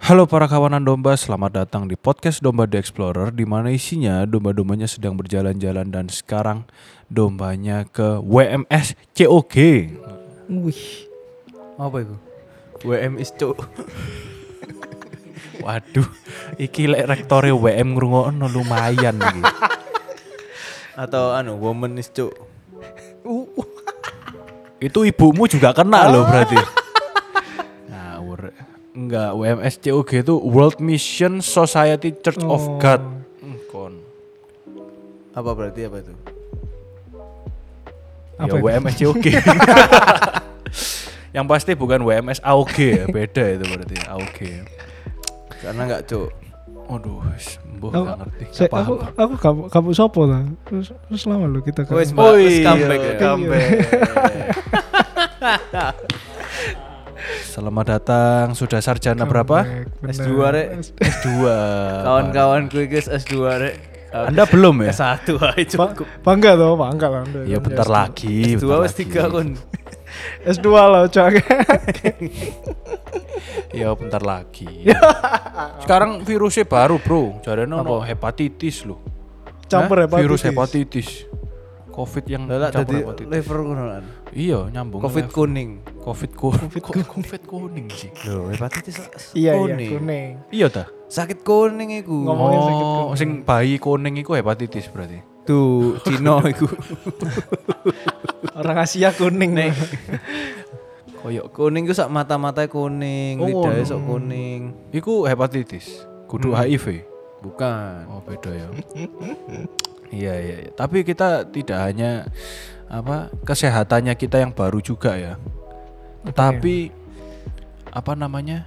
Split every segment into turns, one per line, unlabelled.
Halo para kawanan domba, selamat datang di podcast Domba The Explorer di mana isinya domba-dombanya sedang berjalan-jalan dan sekarang dombanya ke WMS COG.
Wih. Apa itu?
WMS cok. Waduh, iki lek rektore WM ngrungokno lumayan iki.
atau anu woman is cuk
Itu ibumu juga kena loh
Oh.
berarti. Ngawur. Enggak, WMS COG itu World Mission Society Church of
Oh.
God. Hmm, Kon.
apa berarti apa itu
ya WMS COG. Yang pasti bukan WMS AOG ya, beda itu berarti AOG.
karena nggak cuk
ya. Aduh, mbah
Aku,
nggak ngerti,
saya,
nggak
aku,
paham.
aku kamu kamu sopo lah. Terus terus lama lo kita kan.
wes
Oh
mbak wes
iya,
comeback ya
comeback.
Iya.
Selamat datang, sudah sarjana berapa?
S2 rek
Dua.
kawan-kawanku guys S2 rek
Anda belum ya?
S1 ae cukup
Bangga toh, bangga lah. Anda.
Ya bentar lagi.
S2
bentar
wes
lagi.
3 kon
S2 lah, cak.
Ya bentar lagi. Sekarang virusnya baru, Bro. Jarene ono hepatitis loh.
Campur
Hah? Virus
hepatitis.
hepatitis. Covid yang
lha
campur
dadi
hepatitis.
liver ngono kan
Iya, nyambung.
covid kuning
Covid ku- Kok Covid kuning sih.
lho hepatitis
Iya, iya, kuning.
Iya ta?
sakit kuning iku
Ngomongin sakit
Oh,
kuning.
sing bayi kuning iku hepatitis berarti.
tuh Cino iku
Orang Asia kuning.
Nih. koyok kuning iku sak mata-mata kuning
Oh,
lidahnya
ngono.
sok kuning
Iku hepatitis. Kudu HIV.
bukan
Oh, beda ya. iya, iya, iya. Tapi kita tidak hanya apa kesehatannya kita yang baru juga ya. Tapi apa namanya?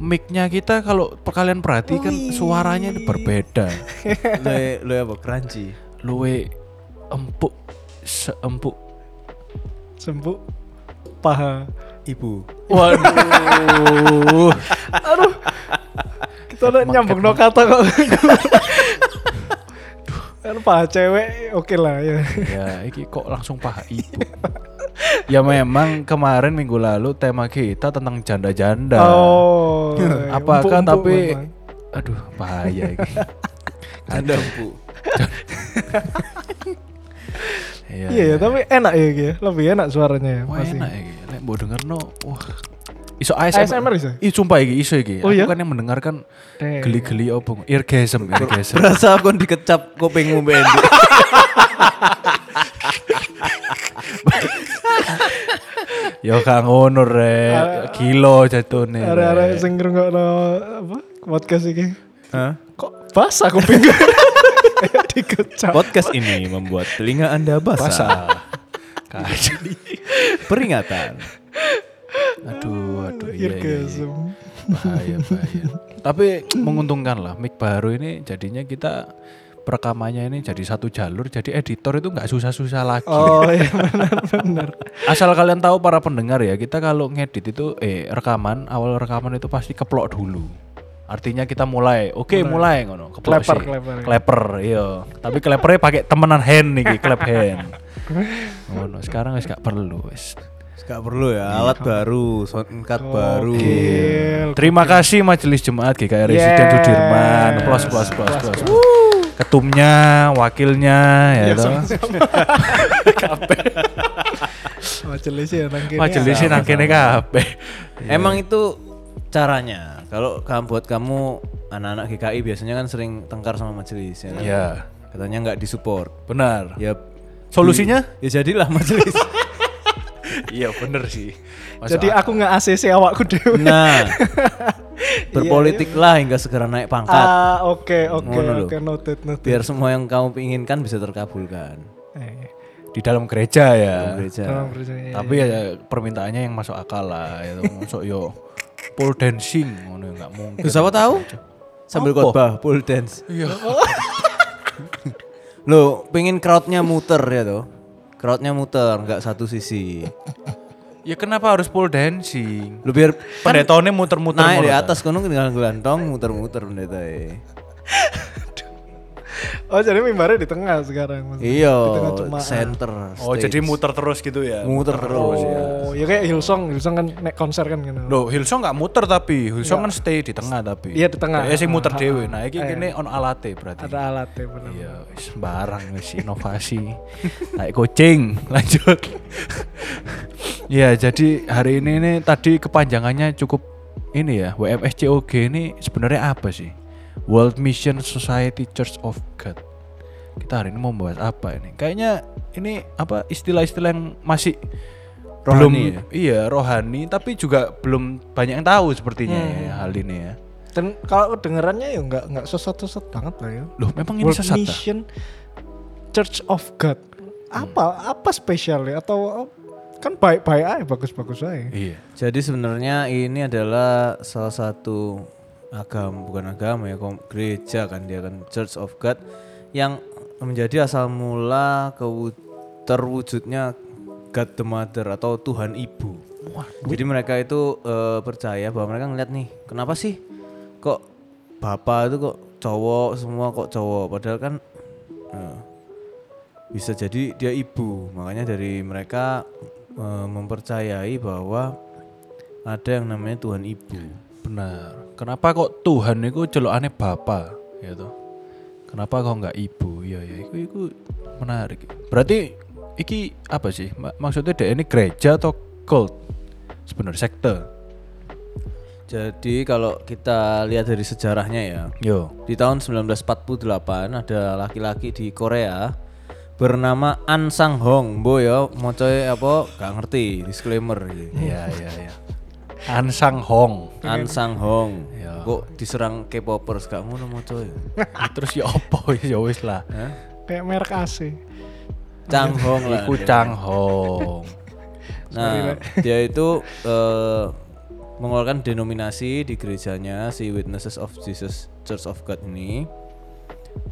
Mic-nya kita kalau pe- kalian perhatikan suaranya itu berbeda.
lo lo apa crunchy
Luwe empuk seempuk.
Sembuh paha.
ibu
Waduh.
Kita udah nyambung no kata kok. Kan paha cewek, oke lah ya.
ya iki kok langsung paha ibu ya memang kemarin minggu lalu tema kita tentang janda-janda
Oh.
apakah
empuk-empuk
tapi
memang.
aduh bahaya iki
Anda bu
Iya,
Iya ya, tapi enak ya, Ki ya. lebih enak suaranya ya.
Wah,
pasti.
enak iki lek mbok dengerno wah iso
ASMR
ASMR
iso?
Ih sumpah iki iso iki.
Oh, iya?
Aku kan yang mendengarkan
Damn.
geli-geli opo eargasm eargasm.
Berasa aku dikecap kupingmu Ben.
Yo kang ngono rek. Gila jatune.
Arah-arah
rek.
sing ngrungokno apa podcast iki.
Hah?
Kok basah kuping gue. Dikecap.
Podcast ini membuat telinga Anda basah.
Basah. Kacau.
Peringatan.
Aduh, aduh iya, iya, iya.
Irgasm.
bahaya bahaya tapi menguntungkan lah mic baru ini jadinya kita perekamannya ini jadi satu jalur jadi editor itu nggak susah-susah lagi
Oh iya benar-benar.
asal kalian tahu para pendengar ya kita kalau ngedit itu eh rekaman awal rekaman itu pasti keplok dulu artinya kita mulai oke mulai ngono keplok
Kleper,
sih.
kleper, ya.
kleper iya tapi klepernya pakai temenan hand nih klep hand ngono sekarang wis gak perlu wis
Gak perlu ya, alat baru, sound card baru.
Gil.
Terima kasih Majelis Jemaat GKR Residen
Yes.
Sudirman. Plus plus plus plus. Ketumnya, wakilnya ya
Ya,
toh.
sama-sama. Majelis ya nang kene.
Iya.
Majelisnya nang kene kabeh.
Emang itu caranya. Kalau kamu buat kamu anak-anak GKI biasanya kan sering tengkar sama majelis
Iya.
ya. kan?
Ya,
Katanya nggak disupport.
benar.
Ya
Solusinya?
ya jadilah majelis.
Iya, benar sih. Masuk
Jadi aku nggak ACC awakku dhewe.
nah, berpolitiklah hingga segera naik pangkat
Iya, Ah oke oke
Ngono lho.
oke noted noted.
biar semua yang kamu inginkan bisa terkabulkan.
Eh,
di dalam gereja ya.
Gereja.
tolong percaya.
Tapi ya permintaannya yang masuk akal lah itu masuk yo pole dancing ngono ya, nggak mungkin.
Terus apa tahu? Sambil
Apa?
khotbah pole dance.
Iya.
Lo pengen crowdnya muter ya tuh. Crowdnya muter, nggak satu sisi.
Ya kenapa harus pole dancing? Kan
Lo biar
Pendetone muter-muter
naik
mulu,
di
ta.
atas kono tinggal gelantong muter-muter pendeta e.
Oh jadi mimbarnya di tengah sekarang Mas.
Iya,
Di tengah jemaah.
center.
kan Oh
stage.
jadi muter terus gitu ya?
muter terus ya.
Oh, ya kayak Hillsong, Hillsong kan naik konser kan gitu.
Loh, Hillsong nggak muter tapi Hillsong kan stay di tengah tapi.
Iya, di tengah.
Ya sih muter
Ah,
dewe.
ah,
Nah, iki
ah, iya.
kene on alate berarti.
Ada alatnya benar.
Iya, wis sembarang wis inovasi. Kayak kucing. Lanjut. Iya, jadi hari ini nih tadi kepanjangannya cukup ini ya, WMSCOG ini sebenarnya apa sih? World Mission Society Church of God. Kita hari ini mau bahas apa ini? Kayaknya ini apa istilah-istilah yang masih
ya?
Rohani
belum iya rohani tapi juga belum banyak yang tahu sepertinya
Hmm.
ya hal ini ya.
Dan kalau dengerannya ya nggak nggak sesat-sesat banget lah ya.
Loh, memang ini
World
sesat. ah?
Mission Church of God. Apa apa spesialnya atau kan baik-baik aja bagus-bagus aja.
Iya.
Jadi sebenarnya ini adalah salah satu agama bukan agama ya, kom- gereja kan dia kan Church of God yang menjadi asal mula kewu- terwujudnya God the Mother atau Tuhan Ibu. Jadi mereka itu eh, percaya bahwa mereka ngeliat nih, kenapa sih kok bapak itu kok cowok semua kok cowok padahal kan eh, bisa jadi dia ibu makanya dari mereka eh, mempercayai bahwa ada yang namanya Tuhan ibu
Benar. Kenapa kok Tuhan itu celokane Bapa, ya toh? Kenapa kok nggak Ibu? Iya ya, itu, itu menarik. Berarti iki apa sih? Ma- Maksudnya dia ini gereja atau cult? Sebenarnya sekte.
jadi kalau kita lihat dari sejarahnya ya
Yo.
di tahun 1948 ada laki-laki di Korea bernama An Sang Hong Bo ya mocoy apa gak ngerti disclaimer gitu.
Iya iya iya. Ansang Hong.
An Sang Hong
Ya.
kok diserang K-popers gak ngono mocoy
Terus ya opo ya wis lah.
Hah?
Kayak merek AC.
Chang Hong lah
Iku Chang Hong.
Nah, dia itu eh, mengeluarkan denominasi di gerejanya si Witnesses of Jesus Church of God ini.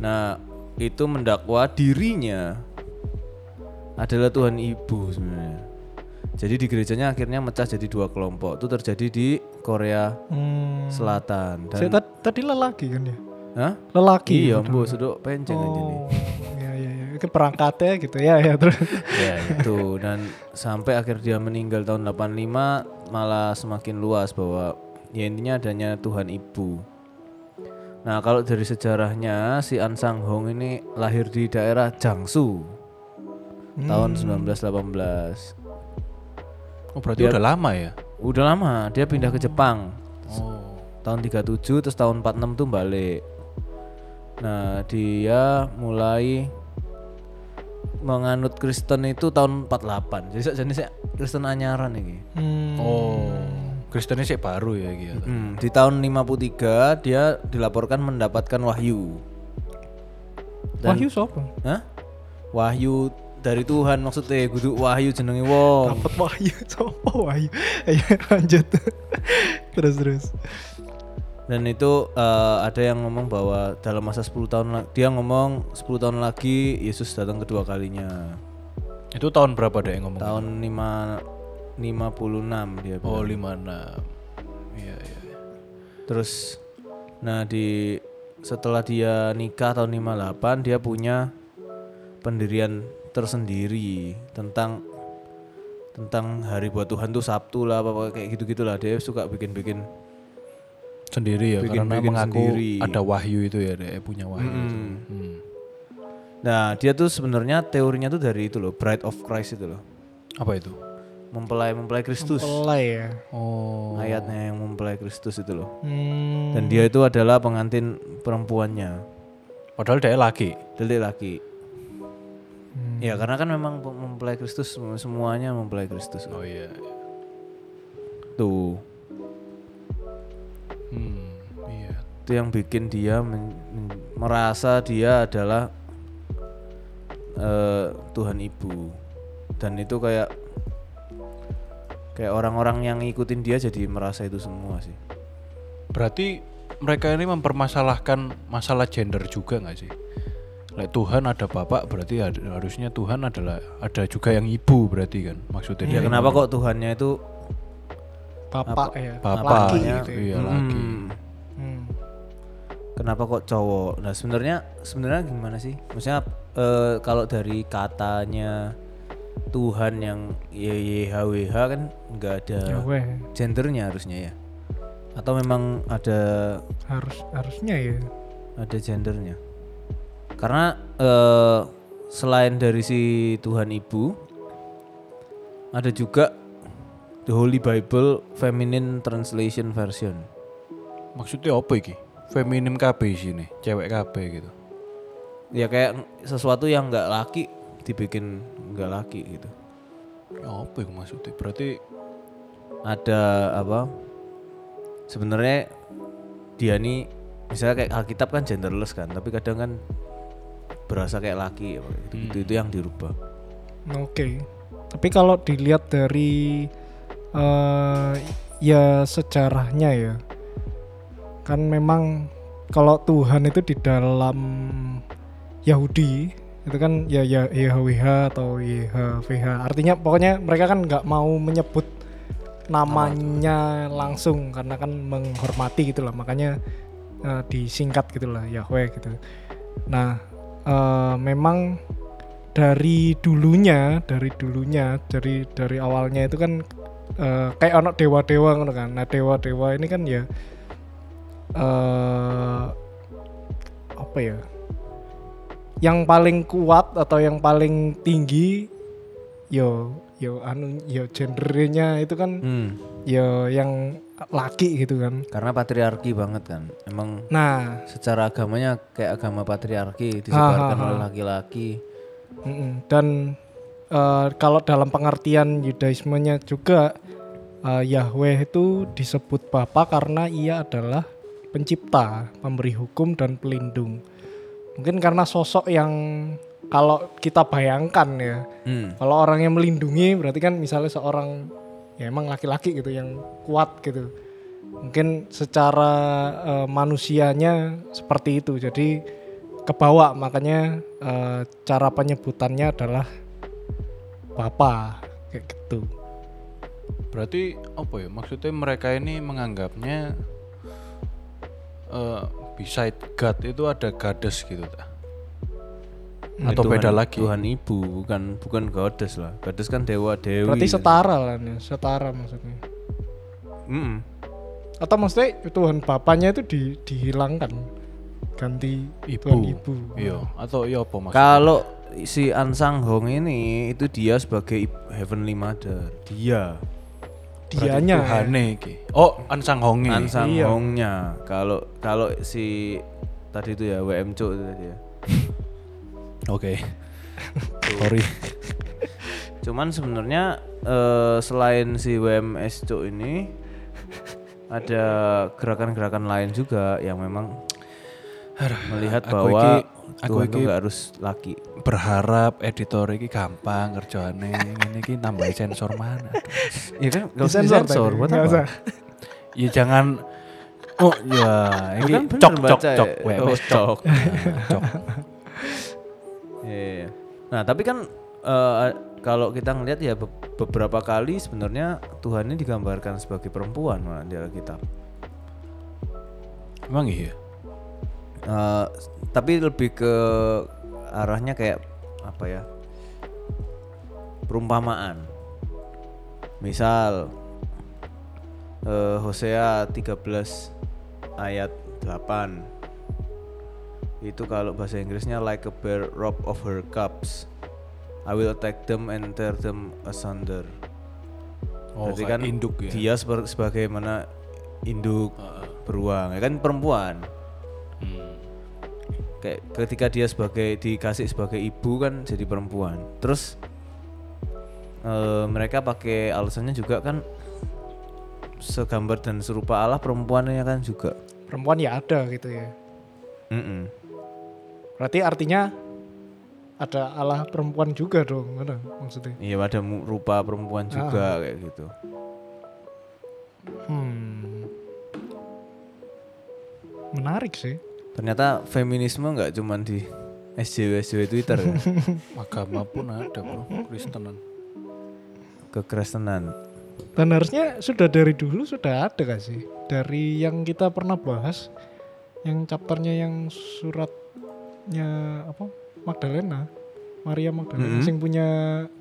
Nah, itu mendakwa dirinya adalah Tuhan Ibu sebenarnya. Jadi di gerejanya akhirnya mecah jadi dua kelompok. Itu terjadi di Korea
Hmm.
Selatan dan
Saya ta- tadi lelaki kan ya?
Hah?
Lelaki.
Iya, Bu, sedok penceng aja nih.
Oh, ya ya ya. Itu perangkatnya gitu ya ya terus.
ya itu dan sampai akhir dia meninggal tahun 85 malah semakin luas bahwa ya intinya adanya Tuhan Ibu. Nah kalau dari sejarahnya si An Sang Hong ini lahir di daerah Jiangsu tahun 1918.
Oh berarti udah lama ya?
Udah lama dia pindah ke Jepang
Oh.
tahun 37 terus tahun 46 tuh balik. Nah dia mulai menganut Kristen itu tahun 48. Jadi jenisnya Kristen anyaran ini.
Hmm.
Oh. Kristennya sih baru ya gitu.
Hmm, di tahun 53 dia dilaporkan mendapatkan wahyu.
Wahyu siapa?
Hah? Wahyu dari Tuhan maksudnya kudu wahyu jenenge wong.
Dapat Wahyu siapa Wahyu? Ayo lanjut. terus terus.
Dan itu eh, ada yang ngomong bahwa dalam masa 10 tahun la- dia ngomong 10 tahun lagi Yesus datang kedua kalinya.
Itu tahun berapa deh yang ngomong?
Tahun 5 56 dia bilang.
Oh 56. Iya iya.
Terus nah di setelah dia nikah tahun 58 dia punya pendirian tersendiri tentang tentang hari buat Tuhan tuh Sabtu lah apa kayak gitu-gitulah dia suka bikin-bikin
sendiri ya
Bikin-
karena
bikin
mengaku
sendiri.
ada wahyu itu ya dia punya wahyu itu. Hmm.
gitu. Nah, dia tuh sebenarnya teorinya tuh dari itu loh, Bride of Christ itu loh.
apa itu
Mempelai-mempelai Kristus.
Pelai ya.
oh
Ayatnya yang mempelai Kristus itu loh.
Hmm.
Dan dia itu adalah pengantin perempuannya.
padahal dia laki
delik laki.
Hmm.
Ya karena kan memang pe- mempelai Kristus semu- semuanya mempelai Kristus
oh iya
tuh
hmm. iya
itu yang bikin dia men- men- merasa dia adalah eh, Tuhan Ibu dan itu kayak kayak orang-orang yang ngikutin dia jadi merasa itu semua sih
berarti mereka ini mempermasalahkan masalah gender juga nggak sih Like Tuhan ada bapak berarti ada- harusnya Tuhan adalah ada juga yang ibu berarti kan maksudnya
ya
dia
kenapa kok Tuhannya itu
Bapak ya.
bapak
Laki gitu ya.
iya laki
Hmm.
Hmm.
kenapa kok cowok nah sebenarnya sebenarnya gimana sih maksudnya eh, kalau dari katanya Tuhan yang YYHWH kan nggak ada
Ya weh,
gendernya harusnya ya atau memang ada
harus harusnya ya.
ada gendernya karena eh, selain dari si Tuhan Ibu ada juga The Holy Bible Feminine Translation Version
Maksudnya apa iki? Feminim KB sini, cewek KB gitu.
ya kayak sesuatu yang nggak laki dibikin nggak laki gitu
Ya apa iku maksudnya? Berarti
ada apa sebenarnya dia nih misalnya kayak Alkitab kan genderless kan tapi kadang kan berasa kayak laki gitu itu yang dirubah
Oke. Tapi kalau dilihat dari eh ya sejarahnya ya. Kan memang kalau Tuhan itu di dalam Yahudi itu kan ya ya YHWH atau YHVH. Artinya pokoknya mereka kan nggak mau menyebut namanya langsung karena kan menghormati gitu lah. Makanya eh, disingkat gitu lah Yahweh gitu. Nah, eh, memang dari dulunya dari dulunya dari dari awalnya itu kan eh, kayak anak dewa dewa ngono kan nah dewa dewa ini kan ya eh apa ya yang paling kuat atau yang paling tinggi yo yo anu yo gendernya itu kan
hmm.
yo yang laki gitu kan
karena patriarki banget kan emang
nah
secara agamanya kayak agama patriarki disebarkan
Ah, ah,
oleh
ah.
laki-laki
Mm-mm. Dan eh, kalau dalam pengertian Yudaismenya juga eh, Yahweh itu disebut Bapa karena ia adalah pencipta, pemberi hukum dan pelindung. Mungkin karena sosok yang kalau kita bayangkan ya,
hmm.
kalau orang yang melindungi berarti kan misalnya seorang ya emang laki-laki gitu yang kuat gitu. Mungkin secara eh, manusianya seperti itu. Jadi kebawa makanya eh, cara penyebutannya adalah bapa kayak gitu.
berarti apa ya? Maksudnya mereka ini menganggapnya eh beside God itu ada goddess gitu tak? Atau
Nah, Tuhan-
beda lagi?
Tuhan ibu bukan bukan goddess lah goddess kan dewa dewi
Berarti
Iya.
setara lah nih, setara maksudnya.
Mm-mm.
Atau maksudnya Tuhan bapaknya itu di- dihilangkan ganti
Ibu.
Tuhan ibu.
Iya, atau iya apa maksudnya?
Kalau si Ansang Hong ini itu dia sebagai ib- Heavenly Mother. Dia
Dianya. ya.
Tuhane iki. Oh, Ansang Hongi.
Ansang
Iya.
Hongnya. Kalau kalau si tadi itu ya WM Cuk itu tadi ya.
Oke. Sorry.
Cuman sebenarnya eh, selain si WMS Cuk ini ada gerakan-gerakan lain juga yang memang melihat
aku
bahwa
iki- aku
Tuhan tuh
iki-
nggak harus laki.
Berharap editor iki gampang kerjaane ngene iki tambahi sensor mana. Aduh.
Iya kan nggak usah
Disensor
disensor,
tadi,
buat
nggak
apa?
usah.
Ya jangan Oh ya, ini
Bukan bener
cok cok
baca ya.
cok,
Oh,
WMS cok.
cok.
Nah, cok.
Iya, iya. Nah, tapi kan eh, kalau kita ngelihat ya be- beberapa kali sebenarnya Tuhan ini digambarkan sebagai perempuan malah di Alkitab.
Emang iya.
Eh, tapi lebih ke arahnya kayak apa ya? Perumpamaan. Misal eh, Hosea 13 ayat 8 itu kalau bahasa Inggrisnya like a bear robbed of her cups I will attack them and tear them asunder
Oh,
Berarti
kayak induk ya. Ah,
dia seper- sebagaimana induk beruang ya kan perempuan
Hmm.
kayak ketika dia sebagai dikasih sebagai ibu kan jadi perempuan terus eh, mereka pakai alasannya juga kan segambar dan serupa Allah perempuannya kan juga
Perempuan ya ada gitu ya.
Mm-mm.
Berarti artinya ada Allah perempuan juga dong, mana maksudnya?
iya ada mu- rupa perempuan juga kayak gitu
Hmm. Menarik sih.
ternyata feminisme nggak cuman di SJW SJW Twitter ya.
Agama pun ada, Bro. Kristenan.
kekristenan
Dan harusnya sudah dari dulu sudah ada gak sih? Dari yang kita pernah bahas yang chapternya yang suratnya apa Magdalena Maria Magdalena
Mhm.
yang punya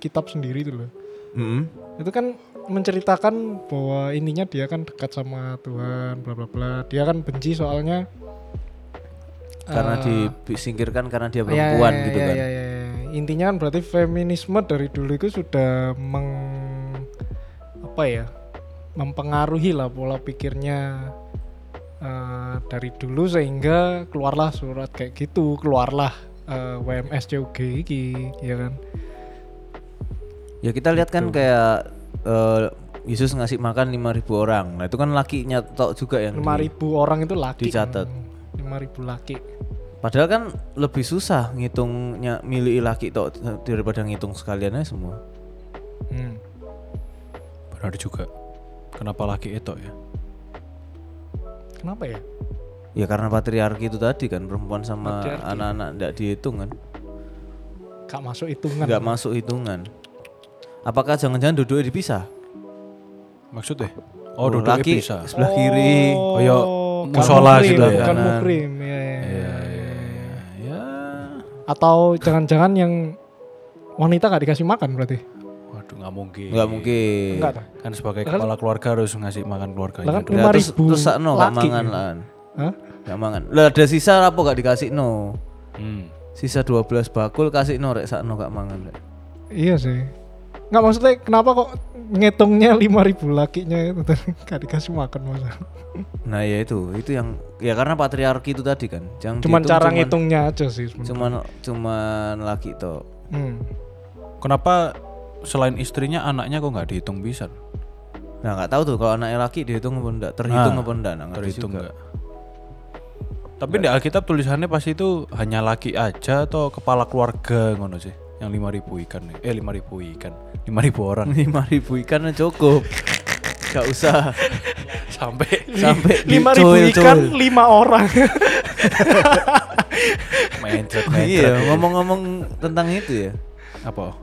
kitab sendiri itu loh
Mm-mm.
itu kan menceritakan bahwa ininya dia kan dekat sama Tuhan bla bla bla dia kan benci soalnya
Karena
eh,
disingkirkan karena
ya,
dia
ya,
perempuan
ya,
gitu
ya,
kan.
ya, ya, ya. intinya kan berarti feminisme dari dulu itu sudah meng apa ya mempengaruhi lah pola pikirnya eh, dari dulu sehingga keluarlah surat kayak gitu keluarlah eh, WMS CUG iki ya kan
Ya kita lihat kan kayak eh, Yesus ngasih makan 5000 orang. Nah, itu kan lakinya tok juga yang di-
5000 orang itu laki
dicatat.
5000 laki
Padahal kan lebih susah ngitungnya milih laki tok daripada ngitung sekaliannya semua.
hmm.
Benar juga. Kenapa laki itu ya?
kenapa ya
Ya karena patriarki itu tadi kan perempuan sama
Patriarki.
anak-anak tidak dihitung kan.
gak masuk hitungan
Nggak masuk hitungan. Apakah jangan-jangan duduknya dipisah?
Maksudnya? Oh,
Tuh,
duduknya
laki
bisa.
Oh,
sebelah kiri.
Kayak
kan
musola
muhrim,
gitu ya.
kan
Kanan.
muhrim, ya, ya, ya.
Iya, iya, iya. Ya.
atau jangan-jangan yang wanita gak dikasih makan berarti
Waduh, nggak mungkin.
Nggak mungkin.
enggak toh?
Kan sebagai
Lah kan-
kepala keluarga harus ngasih makan
Lah
keluarganya.
kan-
dulu.
Ya, terus
5.000
terus sakno gak
laki.
mangan lan.
Hah?
Gak mangan. Lah ada sisa apa gak dikasih no?
Hmm.
Sisa 12 bakul kasih no rek sakno gak mangan rek.
iya sih nggak maksudnya kenapa kok ngitungnya 5000 lakinya itu tadi gak dikasih makan masa
Nah, ya itu, itu yang ya karena patriarki itu tadi kan. Jangan
cuman Hmm.
dihitung,
cara
cuman-
ngitungnya aja sih sebenarnya
Cuman cuman laki tok.
hmm.
Kenapa selain istrinya anaknya kok nggak dihitung bisa?
Nah, nggak tahu tuh kalau anaknya laki dihitung apa enggak, terhitung
Nah,
apa enggak, nah, ngerti
Terhitung
juga.
nggak? Tapi di Alkitab tulisannya pasti itu hanya laki aja atau kepala keluarga ngono sih. Yang 5000 ikan nih. Eh 5000 ikan. 5000 orang
5000 ikan ya cukup. Gak usah
sampai
sampai di-
lima ribu
cuil,
ikan
cuil.
lima orang
mencret
Iya,
mencret.
ngomong-ngomong tentang itu ya.
Apa?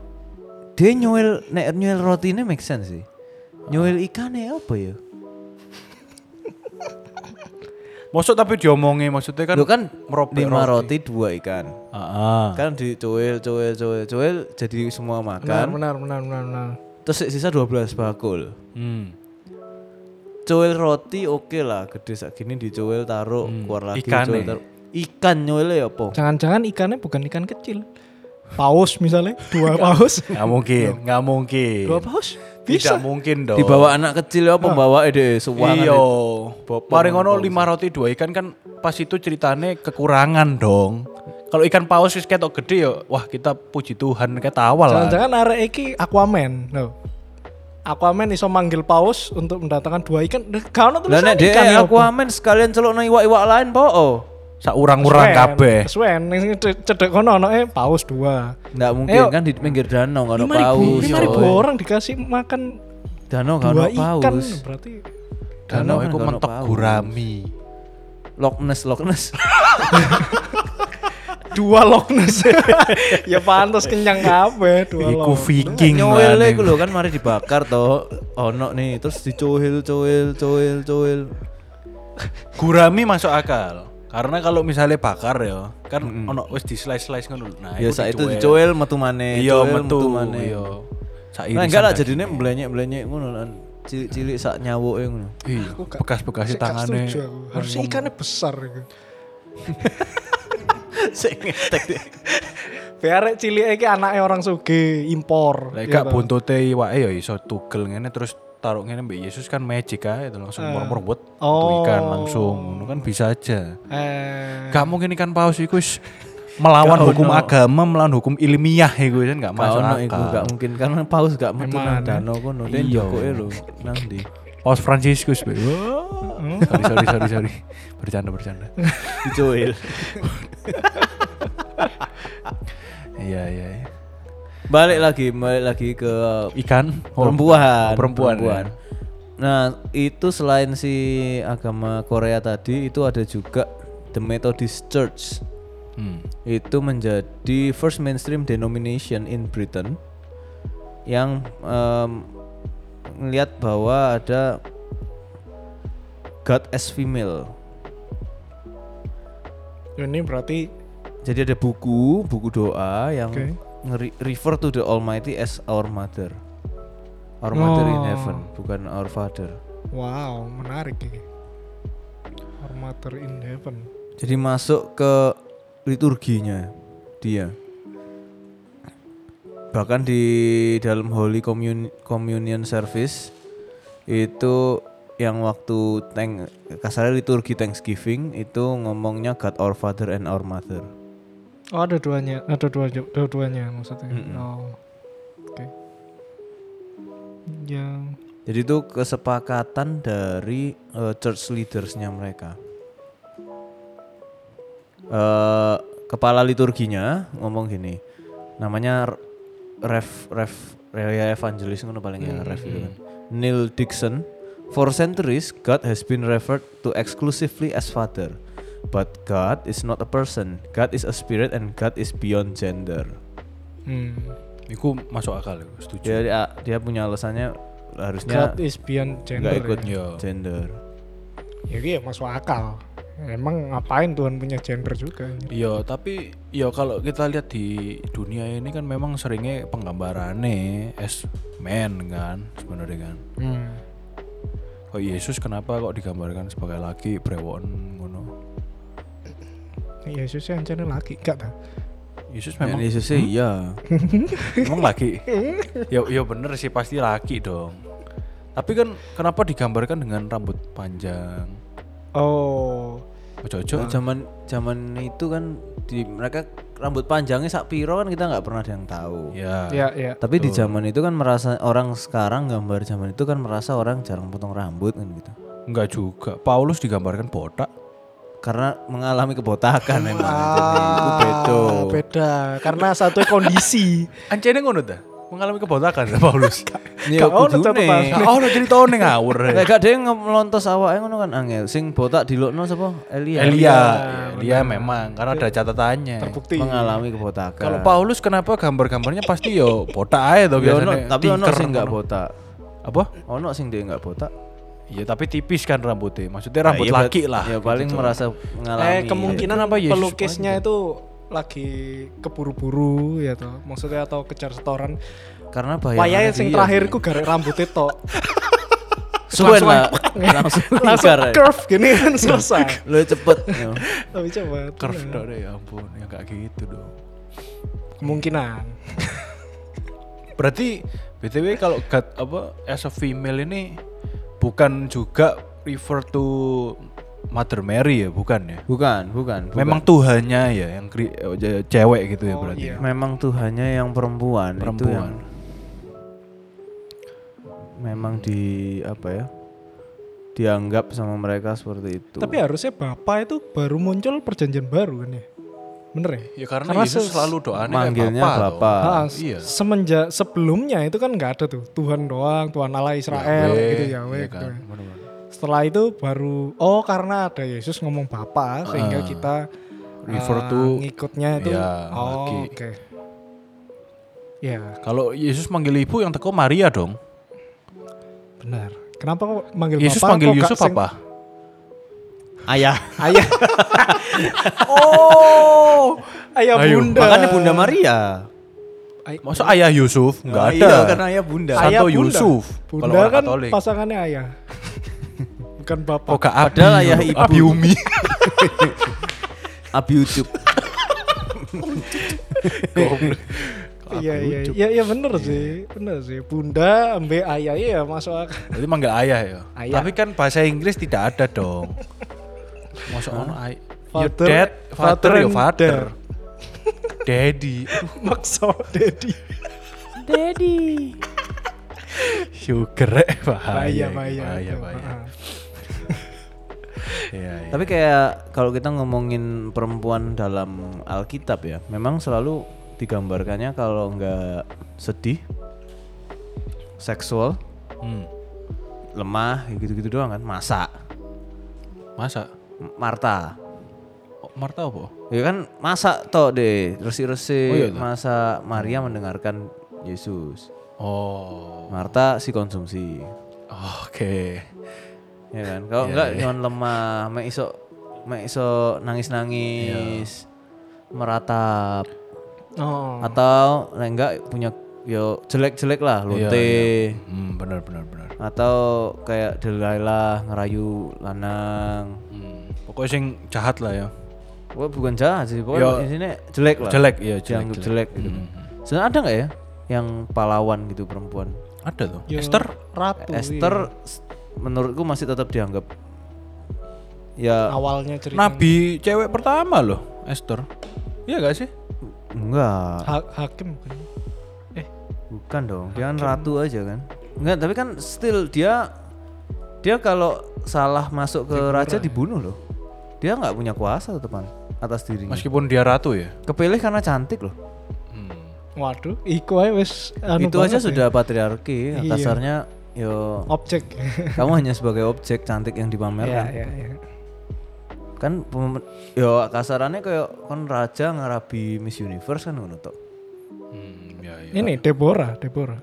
Dia nyuil nek nyuil roti ini make sense sih.
Ah.
Nyuil ikan ya apa ya?
Maksud tapi diomongin maksudnya kan
Kan, kan
merobek
lima
roti.
roti. dua ikan.
Ah, ah.
Kan dicuil, cuil, cuil, cuil jadi semua
benar
makan.
benar benar benar, benar.
Terus sisa 12 bakul.
Hmm.
Cuil roti oke lah, gede sak gini dicuil taruh keluar lagi
Ikan
cuil
ya?
taruh. Ikan nyuilnya ya apa?
jangan-jangan ikannya bukan ikan kecil paus misalnya
Iya.
dua paus
Nggak mungkin, nggak mungkin.
dua paus
Tidak
bisa
mungkin dong. Iya.
Dibawa anak kecil ya apa bawa ide suwangan.
Iyo.
itu.
Mari ngono lima roti dua ikan kan pas itu ceritane kekurangan dong. Kalau ikan paus wis ketok gede ya, wah kita puji Tuhan ketawa lah.
Jangan-jangan arek iki Aquaman. No. Aquaman iso manggil paus untuk mendatangkan dua ikan. Kau ono
Lah
tulisan
nek dhek
ikan ya apa?
Aquaman sekalian celokno iwak-iwak lain po. oh.
Sak urang-urang
Kesuwen,
kabeh.
Kesuwen ning cedek- cedek kono ono eh paus dua.
Nggak mungkin
Ayo.
kan di pinggir danau nggak ada
Lima ribu,
paus.
lima
coy.
ribu orang dikasih makan
Danau nggak
dua
ada
ikan.
paus.
Berarti
Danau
Danau kan
iku
nggak ono
mentok
paus.
gurami.
Loch Ness, Loch Ness.
dua Loch Ness. ya pantas kenyang kabeh dua
Iku
Loch.
viking
Nyuwil
lah.
iku lho kan mari dibakar to. Ono nih terus dicuil, cuil, cuil, cuil.
Gurami masuk akal. Karena kalau misalnya bakar ya, kan ono wis di slice-slice ngono. lho. Nah,
Ya saat itu dicuil metu maneh.
Iya,
cuil,
metu.
maneh.
Iya.
Nah, enggak lah jadinya mblenyek-mblenyek ngono lan. Cilik-cilik sak nyawoke ngono.
Iya, bekas-bekas
Sik, gak
tangannya.
setuju aku. Harusnya ikannya besar gitu.
Sik ngetek deh.
Biar cilik iki anaknya orang sugih impor.
Lek
ya
gak
toh.
buntute iwake ya iso tugel ngene terus taruh ngene mbek Yesus kan magic ae itu langsung mor-mor wet metu ikan
Oh.
langsung ngono kan bisa aja.
Eh,
Gak mungkin ikan paus iku wis melawan hukum agama, melawan hukum ilmiah iku kan gak
Gak
masuk
ono iku
akal.
gak mungkin karena paus gak metu
Emang.
nang danau kono. Den
Iya.
jokoke lho nang ndi.
Paus Franciscus. Be. Wah. Hmm, sorry sorry sorry sorry. Bercanda bercanda.
Dicuil.
Iya iya iya.
balik lagi, balik lagi ke
Ikan oh, oh,
perempuan,
perempuan. ya.
Nah, itu selain si agama Korea tadi itu ada juga The Methodist Church.
Hmm.
Itu menjadi first mainstream denomination in Britain yang em, melihat bahwa ada God as female.
Ini berarti
Jadi ada buku, buku doa yang
Oke.
ngeri- refer to the Almighty as our mother. Our mother in
Oh.
heaven, bukan our father.
wow, menarik ini. Our Mother in Heaven.
Jadi masuk ke liturginya dia. Bahkan di dalam Holy Commun- Communion Service itu yang waktu thank kasarnya liturgi Thanksgiving itu ngomongnya God our Father and our Mother.
Oh, ada duanya, ada dua dua duanya maksudnya.
Mm-mm.
Oh. Oke. Yang
Jadi itu kesepakatan dari eh, church leadersnya mereka. eh kepala liturginya ngomong gini, namanya R- Rev Rev Raya Evangelis ngono paling
Hmm,
ya Rev itu kan. Neil Dixon. For centuries, God has been referred to exclusively as Father, but God is not a person. God is a spirit, and God is beyond gender.
hmm.
Iku masuk akal, iku, setuju.
Jadi ah, dia punya alasannya harusnya
God is beyond gender.
Ya. nggak ikut
ya.
Iya.
gender.
Ya iya masuk akal. Emang ngapain Tuhan punya gender juga?
Iya, tapi ya kalau kita lihat di dunia ini kan memang seringnya penggambarannya as man kan sebenarnya kan.
Hmm.
Kok Yesus kenapa kok digambarkan sebagai laki brewon ngono?
Ya, Yesus yang channel lagi gak ta?
Yesus
Memang
memang Hmm.
Yesus sih iya.
memang laki. Ya ya bener sih pasti laki dong. Tapi kan kenapa digambarkan dengan rambut panjang?
Oh,
Ojo-ojo.
Cuk, zaman zaman itu kan di mereka rambut panjangnya sak piro kan kita nggak pernah ada yang tahu.
Ya.
ya ya.
Tapi di zaman itu kan merasa orang sekarang gambar zaman itu kan merasa orang jarang potong rambut kan gitu.
Enggak juga. Paulus digambarkan botak.
Karena mengalami kebotakan memang Jadi itu bedo.
Ah, beda karena satu kondisi.
Ancene ngono ta? Mengalami kebotakan Paulus.
Ya
Gak ono catatan.
kudune.
Oh, udah jadi tahun ngawur.
Lek gak ada yang ngelontos awake ngono kan angel. Sing botak dilokno sapa? Elia.
Elia, Elia memang karena ada catatannya.
Terbukti.
Iya. Mengalami kebotakan.
Kalau Paulus kenapa gambar-gambarnya pasti yo botak aja tuh
Ya ono,
biasanya.
tapi ono
tinker
sing nggak
ngono.
botak.
apa?
Ono sing dia nggak botak.
Iya tapi tipis kan rambutnya. Maksudnya rambut
Iya,
laki
bet-
lah.
Ya paling merasa mengalami.
eh kemungkinan
Kenapa Yesus
pelukisnya itu lagi keburu-buru ya toh. Maksudnya atau kejar setoran.
karena bayangan.
Wayahe sing terakhir ku garek rambutnya tok.
Suwen lah. Langsung
Langsung
lingkar.
curve gini kan selesai.
Lu cepet. ya.
Tapi coba
Curve dong deh, ya ampun, ya kayak gitu dong.
kemungkinan.
Berarti btw kalau God apa as a female ini bukan juga refer to Mother Mary ya, bukan ya?
Bukan, bukan, bukan.
Memang Tuhannya ya yang kri- eh, cewek gitu ya
Oh,
berarti.
iya.
memang Tuhannya yang perempuan, itu
Perempuan.
yang memang di apa ya? dianggap sama mereka seperti
Gitu.
itu.
Tapi harusnya Bapak itu baru muncul perjanjian baru kan ya. Bener ya?
Ya karena,
Karena
Yesus
se-
selalu doanya
manggilnya
kayak Bapa.
Bapa.
toh.
Ah, se-
iya.
Semenjak sebelumnya itu kan nggak ada tuh Tuhan doang, Tuhan Allah Israel
Yahweh,
gitu ya.
iya kan, bener-bener.
Setelah itu baru oh karena ada Yesus ngomong Bapa sehingga kita
Ah, Refer
ah,
to
ngikutnya itu
ya,
oh
lagi.
oke. Ya,
Kalau Yesus manggil ibu yang teko Maria dong.
benar. Kenapa kok manggil
Yesus
Ya, Bapa?
manggil
kok gak
Yusuf
sing-
apa?
ayah.
Ayah. oh, ayah
Ayo,
Bunda.
Makanya Bunda Maria.
Ay-
Masa ayah Yusuf? Enggak ada.
Iya, karena ayah Bunda.
Santo
Ayah Bunda.
Yusuf. kalau
Bunda
orang
kan
Katolik.
pasangannya ayah. Bukan Bapak.
Oh, gak Abi.
Padahal ayah ibu.
Abi Umi.
Abi Ucup.
Iya iya iya iya bener sih bener sih bunda ambe ayah ya masuk akal.
Berarti manggil ayah ya.
Ayah.
Tapi kan bahasa Inggris tidak ada dong. Masa ono ay- Your
Father-
dad, father,
father
your
and
father. Daddy. Aduh,
maksa Dedi
Sugar eh, bahaya.
bahaya bahaya
Bahaya,
Itu,
bahaya.
ah.
Iya, iya.
Tapi kayak kalau kita ngomongin perempuan dalam Alkitab ya, memang selalu digambarkannya kalau nggak sedih, seksual,
Hmm.
lemah, ya gitu-gitu doang kan. Masa,
Masa?
M- Marta,
Oh, Marta apa?
ya kan masa toh deh, resi-resi
Oh iya toh.
masa Maria mendengarkan Yesus,
Oh.
Marta si konsumsi,
Oke. Iya,
ya kan. Kalau nggak nyon lemah, mek iso mek iso nangis-nangis
Iya.
meratap
Oh.
atau nek enggak punya yo jelek-jelek lah
Iya,
lote
Hmm, benar benar benar.
atau kayak Delilah ngerayu lanang
Hmm. Pokoknya sing jahat lah ya.
Wah bukan jahat sih,
Yo.
pokoknya intinya jelek lah.
Jelek, iya, jelek,
Dianggap jelek, gitu. Sebenarnya ada nggak ya yang pahlawan gitu perempuan?
Ada tuh.
Ya,
Esther
Ratu.
Esther s- menurutku masih tetap dianggap
iya.
ya
awalnya cerita.
nabi cewek pertama loh, Esther. Iya gak sih?
enggak,
Ha- hakim bukan? Eh,
bukan dong. Dia kan ratu aja kan. Enggak, tapi kan still dia dia kalau salah masuk ke raja dibunuh loh. Dia nggak punya kuasa teman atas
Hmm.
dirinya.
Meskipun dia ratu ya.
Kepilih karena cantik loh.
waduh, iku aja wis anu
Itu
banget
aja
ya.
sudah patriarki,
Iya.
kasarnya yo
objek.
kamu hanya sebagai objek cantik yang
Iya,
dipamerkan
iya, iya.
kan pem- yo kasarannya kayak kan raja ngerabi Miss Universe kan ngono tok
Hmm, ya, ya.
Ini Deborah, Deborah.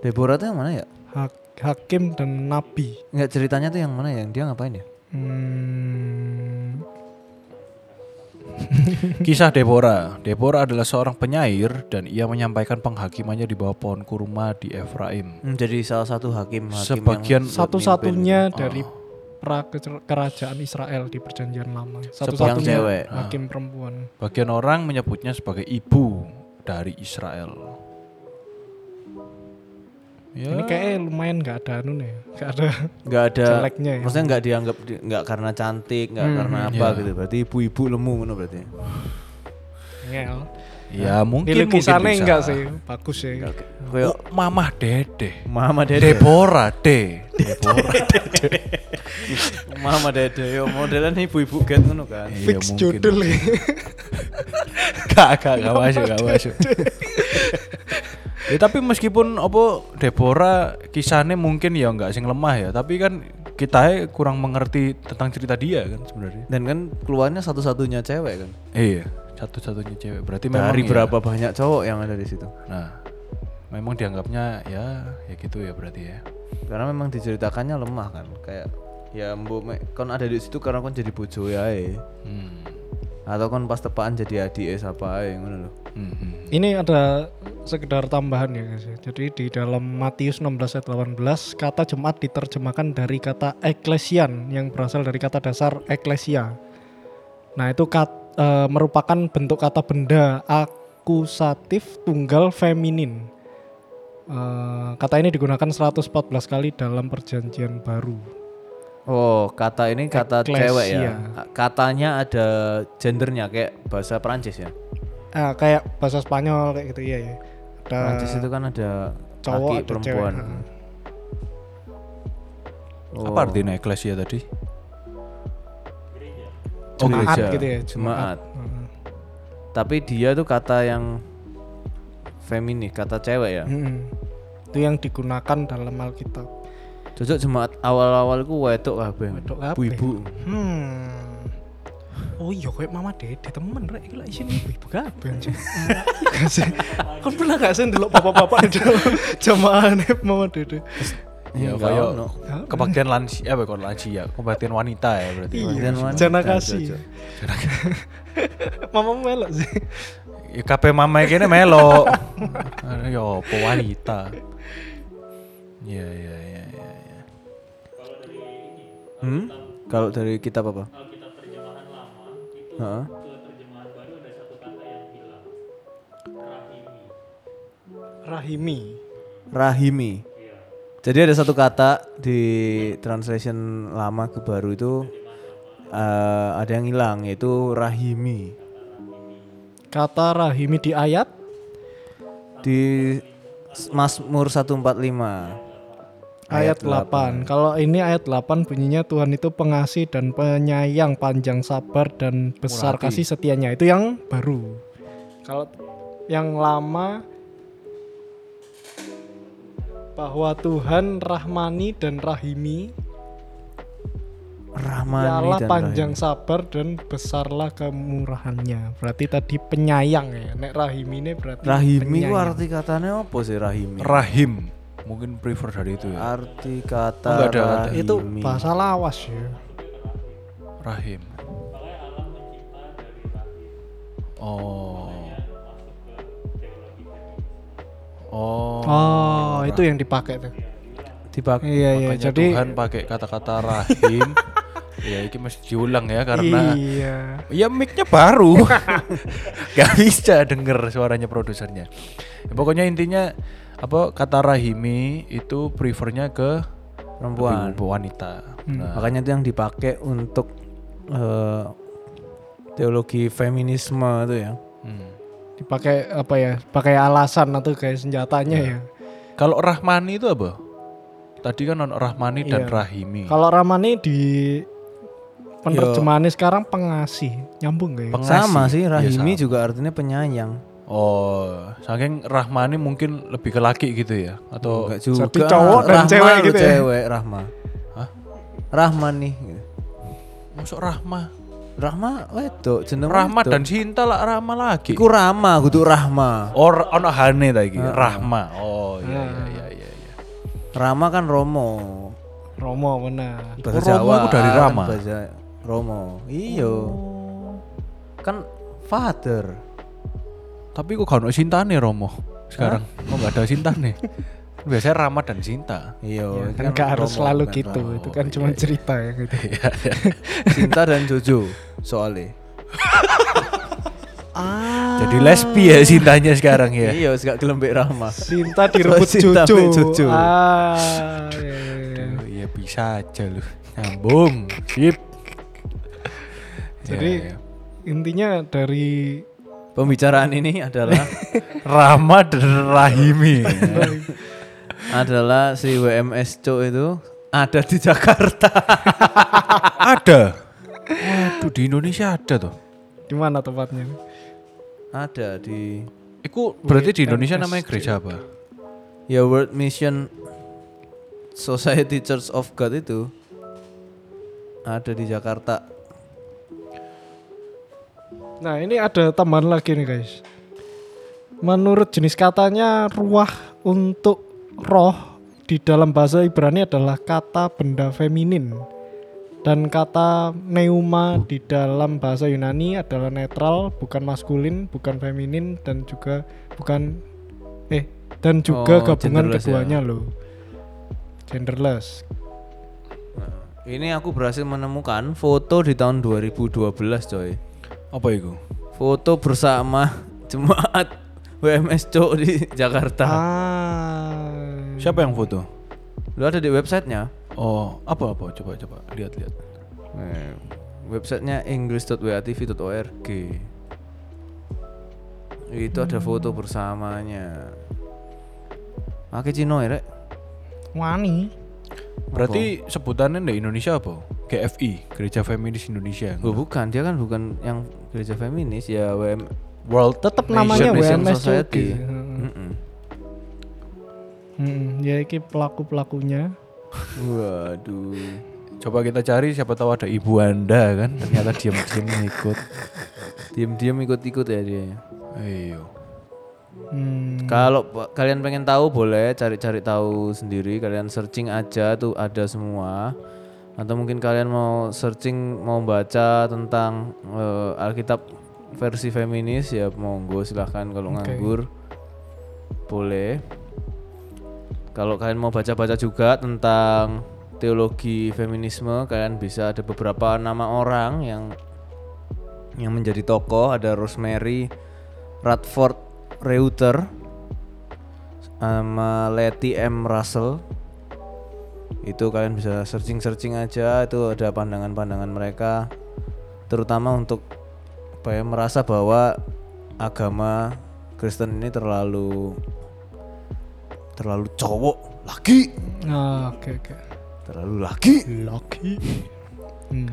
Deborah tuh yang mana ya
Ha- hakim dan nabi.
nggak ceritanya tuh yang mana ya dia ngapain ya
Hmm.
Kisah Deborah. Deborah adalah seorang penyair dan ia menyampaikan penghakimannya di bawah pohon kurma di Efraim.
Hmm, jadi salah satu hakim, hakim
Sebagian
yang-
Oh.
Satu-satunya dari pra kecer- kerajaan Israel di perjanjian lama. Satu-satunya
cewek.
Ah.
hakim perempuan.
Bagian orang menyebutnya sebagai ibu dari Israel. Ya,
Ini kayaknya lumayan nggak ada anu nih, nggak ada.
nggak ada
Jeleknya ya.
maksudnya nggak dianggap di- nggak karena cantik nggak karena apa
Iya.
gitu berarti ibu-ibu lemu ngono berarti
Ngel.
ya mungkin
Nilai
mungkin
lukisannya
bisa.
enggak sih, bagus sih.
Oh,
kayak
mamah Dede.
Mama Dede
Deborah D. Deborah.
Mama Dede yo modelan ibu-ibu get ngono kan
Iya,
Fix
mungkin.
judul ya.
Gak, gak, gak masuk, gak masuk. ya tapi meskipun opo Deborah kisahnya mungkin ya nggak sing lemah ya, tapi kan kita kurang mengerti tentang cerita dia kan sebenarnya.
dan kan keluarnya satu-satunya cewek kan
Iya, satu-satunya cewek. Berarti memang
dari
ya-
berapa banyak cowok yang ada di situ
Nah, memang dianggapnya ya ya gitu ya berarti ya.
karena memang diceritakannya lemah kan kayak ya mbok mek kon ada di situ karena kon jadi bojo ya
Hmm.
atau kon pas tepaan jadi adik e, siapa ae ngono lho
Hmm, hmm.
Ini ada sekedar tambahan ya guys. ya. Jadi di dalam Matius 16 ayat 18 kata jemaat diterjemahkan dari kata eklesian yang berasal dari kata dasar eklesia. Nah, itu kat- eh, merupakan bentuk kata benda akusatif tunggal feminin. Eh, kata ini digunakan 114 kali dalam perjanjian baru.
oh kata ini kata
Ecclesia.
cewek ya A- katanya ada gendernya kayak bahasa Prancis ya
Ah, kayak bahasa Spanyol kayak gitu iya ya. Ada
Prancis itu kan ada
cowok
laki
ada
perempuan
cewek. Nah.
Oh,
Apa artinya eklesia tadi?
oh,
jemaat
gereja.
gitu ya,
jemaat
Heeh.
tapi dia tuh kata yang feminis kata cewek ya
Mm-mm. Itu yang digunakan dalam Alkitab.
cocok jemaat awal-awal ku wedok kabeh
Wedok kabeh.
ibu-ibu
Hmm. Oh iya kayak mama dede temen rek iki lak isine ibu-ibu kabeh anjir. Kan pernah gak sih ndelok bapak-bapak di dalam jamaah mama dede.
Ya, kayak
Enggak Iya, ono.
kebaktian lansia, eh, bukan lansia, kebaktian wanita ya berarti.
Iya, wanita,
Jana
cocok.
kasih. Mama melok sih.
Ya kabeh mamae kene melo. ya apa wanita. Ya ya ya ya. ya.
Hmm? Kalau dari kitab apa? Heeh.
Rahimi.
Rahimi. Jadi ada satu kata di translation lama ke baru itu eh, ada yang hilang yaitu rahimi.
Kata rahimi di ayat
Di s- Mazmur 145.
Ayat 8. Kalau ini ayat 8 bunyinya Tuhan itu pengasih dan penyayang, panjang sabar dan besar kasih setianya. Itu yang baru. Kalau yang lama bahwa Tuhan rahmani dan rahimi,
Rahmani
ialah
dan
panjang
Rahimi.
sabar dan besarlah kemurahannya. Berarti tadi penyayang ya. Nek rahimi ini berarti
Rahimi ku
penyayang.
arti katanya apa sih rahimi?
Rahim. Mungkin prefer dari itu ya.
Arti kata
Enggak ada, ada.
rahimi.
itu bahasa lawas ya.
Rahim. Oh. Oh.
Oh, itu yang dipakai tuh.
dipakai
Iya, iya.
Makanya
Jadi
Tuhan pakai kata-kata rahim. ya, ini mesti diulang ya karena
iya.
ya mic-nya baru. Gak bisa denger suaranya produsernya. Ya, pokoknya intinya apa kata rahimi itu prefernya ke
perempuan.
ibu wanita. Nah,
Makanya itu yang dipakai untuk eh, teologi feminisme itu ya.
hmm.
Dipakai apa ya? Pakai alasan atau kayak senjatanya ya.
Kalau rahmani itu apa? Tadi kan ono rahmani dan
Iya.
rahimi.
Kalau Ramani di penerjemahannya sekarang pengasih. Nyambung gak ya?
Peng- Pengasih.
Sama sih,
Iya,
rahimi
sama.
juga artinya penyayang.
Oh, saking rahmani mungkin lebih ke laki gitu ya atau
Enggak juga.
Jadi cowok dan
Rahma
cewek
lu,
gitu ya?
Cewek Rahma.
Hah?
Rahman nih. gitu.
masuk rahma.
Rahma wedok jeneng
Rahma
wedok.
dan cinta lah rahma lagi.
iku Rahma kudu Rahma.
Or ono hane ta iki, rahma. Oh iya iya iya iya iya.
Rahma kan Romo.
Romo benar.
Oh, Romo iku dari
kan
Rahma?
bahasa Romo. Iyo. Kan father.
Tapi kok gak ono sintane Romo sekarang. Kok gak ada sintane? Biasanya rahma dan cinta.
Iyo,
Kan gak harus
Romo,
selalu
kan
gitu.
Romo.
itu kan cuma cerita ya gitu.
Cinta dan Jojo soalnya.
Jadi lesbi ya cintanya sekarang ya.
Iya, gak kelembek Rahma.
Cinta direbut
Cinta
cucu.
ambil cucu.
Ah, iya, iya, iya.
Aduh, Iya bisa aja lu. Nyambung. Sip.
Jadi
Ya, ya.
intinya dari
Pembicaraan ini adalah
Rahma dan Rahimi.
adalah si WMS Co itu ada di Jakarta.
ada. Waduh di Indonesia ada tuh.
di mana tempatnya?
ada di
Iku berarti di Indonesia namanya gereja apa?
ya World Mission Society Church of God itu ada di Jakarta.
Nah, ini ada tambahan lagi nih, guys. Menurut jenis katanya, ruah untuk roh di dalam bahasa Ibrani adalah kata benda feminin. Dan kata neuma di dalam bahasa Yunani adalah netral, bukan maskulin, bukan feminin, dan juga bukan eh dan juga
Oh,
gabungan
genderless ya.
keduanya loh. Genderless.
Ini aku berhasil menemukan foto di tahun 2012 coy.
Apa itu?
Foto bersama jemaat WMS Co di Jakarta.
Ah.
Siapa yang foto?
Lu ada di websitenya?
Oh, apa apa coba coba lihat-lihat.
Eh, Websitenya english.watv.org Itu ada foto bersamanya Pakai Cino ya Rek?
Wani.
Berarti sebutannya di Indonesia apa? GFI, Gereja Feminis Indonesia.
Oh, bukan, dia kan bukan yang gereja feminis ya WM
World
Tetap
Nah,
namanya
Nation
WMS
iya, Society.
Jogi. Heeh.
Mm-mm.
Hmm, ya iki pelaku-pelakunya.
Waduh
Coba kita cari siapa tahu ada ibu Anda kan. Ternyata diam-diam ikut.
Diam-diam ikut-ikut ya dia ya.
Ayo.
Hmm,
Kalau pa- kalian pengen tahu boleh cari-cari tahu sendiri, kalian searching aja tuh ada semua. Atau mungkin kalian mau searching mau baca tentang eh, Alkitab versi feminis ya monggo silahkan kalau nganggur boleh. Kalau kalian mau baca-baca juga tentang teologi feminisme, kalian bisa ada beberapa nama orang yang yang menjadi tokoh ada Rosemary Radford Reuter sama Letty M Russell itu kalian bisa searching searching aja itu ada pandangan-pandangan mereka terutama untuk apa ya, merasa bahwa agama Kristen ini terlalu terlalu cowok lagi
ah, oke oke.
terlalu lagi
Lucky. Hmm.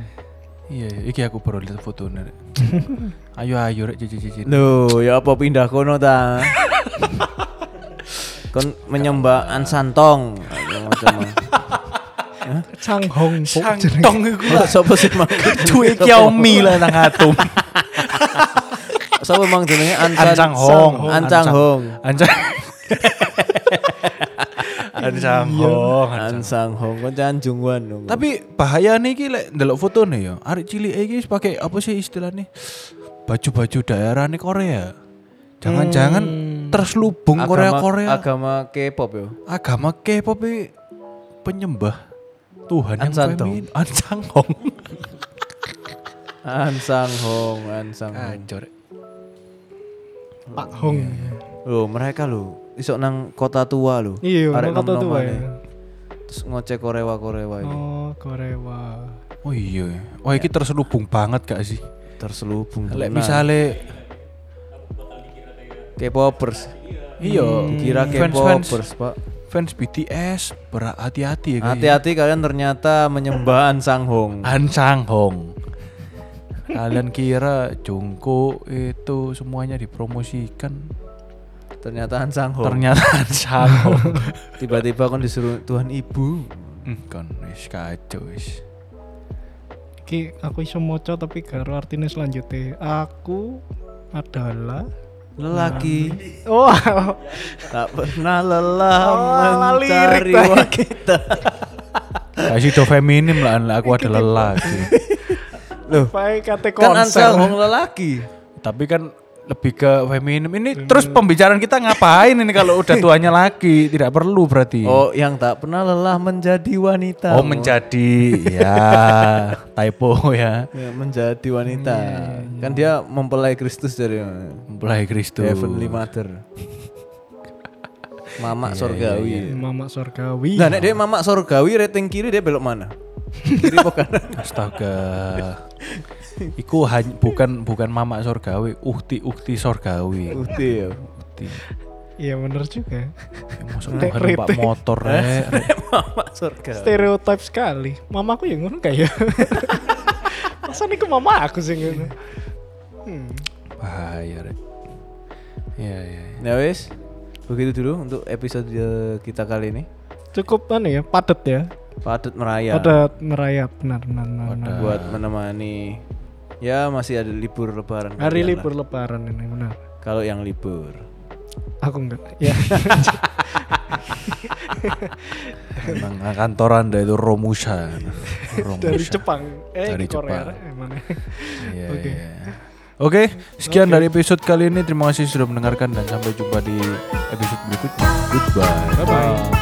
Iya, iya, iki aku baru lihat fotonya. Rek. ayo ayo rek cici cici.
Loh, ya apa pindah kono ta? kon menyembah An Santong. Aku mau coba.
Chang Hong Po
Santong iku.
Lah, Sapa sih mang? ya
Cuy Xiaomi lah nang atom.
Sapa mang jenenge An San-
Ancang Hong.
An Cang Hong.
Ancang. Ancang Hong.
An Sang Hong kon Chan Jung Wan dong.
Tapi bahaya nih ki lek ndelok fotone ya. Arek cilik iki wis pakai apa sih istilahnya? baju-baju daerah nih Korea. Jangan-jangan terselubung Korea-Korea.
agama K-pop yo.
agama K-pop ini penyembah Tuhan yang
Ansan Dong.
feminin. Ansang Hong.
An Sang Hong, An Sang
Ah.
Hong.
Pak Hong.
Iya, Loh, Oh, mereka lo isok nang kota tua lo.
Iya,
Arek
kota
nom-noman
tua
ya.
ya.
Terus ngoceh korewa-korewa ini.
Oh, Korea.
Oh iya. Wah, ini terselubung banget gak sih?
Terselubung.
Lek
tenan.
misalnya
K-popers. Hmm.
iya
Kira
fans
K-popers, Pak.
fans BTS berat hati-hati ya guys.
Hati-hati kalian ternyata menyembah An Sang Hong.
Ansang Hong. Kalian kira Jungkook itu semuanya dipromosikan?
Ternyata An Sang Hong.
Ternyata Ansang Hong.
Tiba-tiba kan disuruh Tuhan Ibu.
Hmm, kan wis kacau wis.
Ki, aku iso moco tapi karo artinya selanjutnya. Aku adalah Oh,
Lelaki
Hmm. Wow.
tak pernah lelah
Alah, lirik
mencari
lagi.
wanita.
Kasih do feminim lah lah, aku adalah lelaki.
Baik kate
Kan An
konser.
Sang Hong lelaki.
Tapi kan lebih ke feminim ini terus pembicaraan kita ngapain ini kalau udah tuanya laki tidak perlu berarti.
Oh, iya. yang tak pernah lelah menjadi wanita.
Iya. Oh, menjadi ya typo ya.
Ya, menjadi wanita. Kan dia mempelai Kristus dari eh,
Mempelai Kristus.
Heavenly Mother. Mamak surgawi.
Mama surgawi.
Nah, nek dia mamak surgawi rating kiri dia belok mana? kiri apa kanan?
Astaga. Iku hany- bukan bukan mamak sorgawi, ukti ukti sorgawi.
Putih ya.
Ukti.
Iya bener
Ya,
juga.
masuk numpak motor
Eh.
rek. Rek.
mamak surgawi.
Stereotip sekali. Mamaku yang ngono kayak. Masa nih ke mama aku sih ngono. Hmm.
Bahaya rek. Iya iya. iya.
Nah, wis. Begitu dulu untuk episode eh, kita kali ini.
Cukup anu ya, padat ya.
Padat merayap
Padat merayap benar benar benar. benar.
buat menemani. Ya, masih ada libur lebaran.
Hari
kalian
libur lebaran ini benar.
lah. Kalau yang libur.
Aku enggak. Ya.
Emang kantoran dari itu Romusa. Romusa.
dari Jepang. Eh
Dari
dari Korea.
Jepang.
Eh, mana?
Iya,
Oke.
iya. Oke, sekian dari episode kali ini. Terima kasih sudah mendengarkan dan sampai jumpa di episode berikutnya. Goodbye.
Bye bye.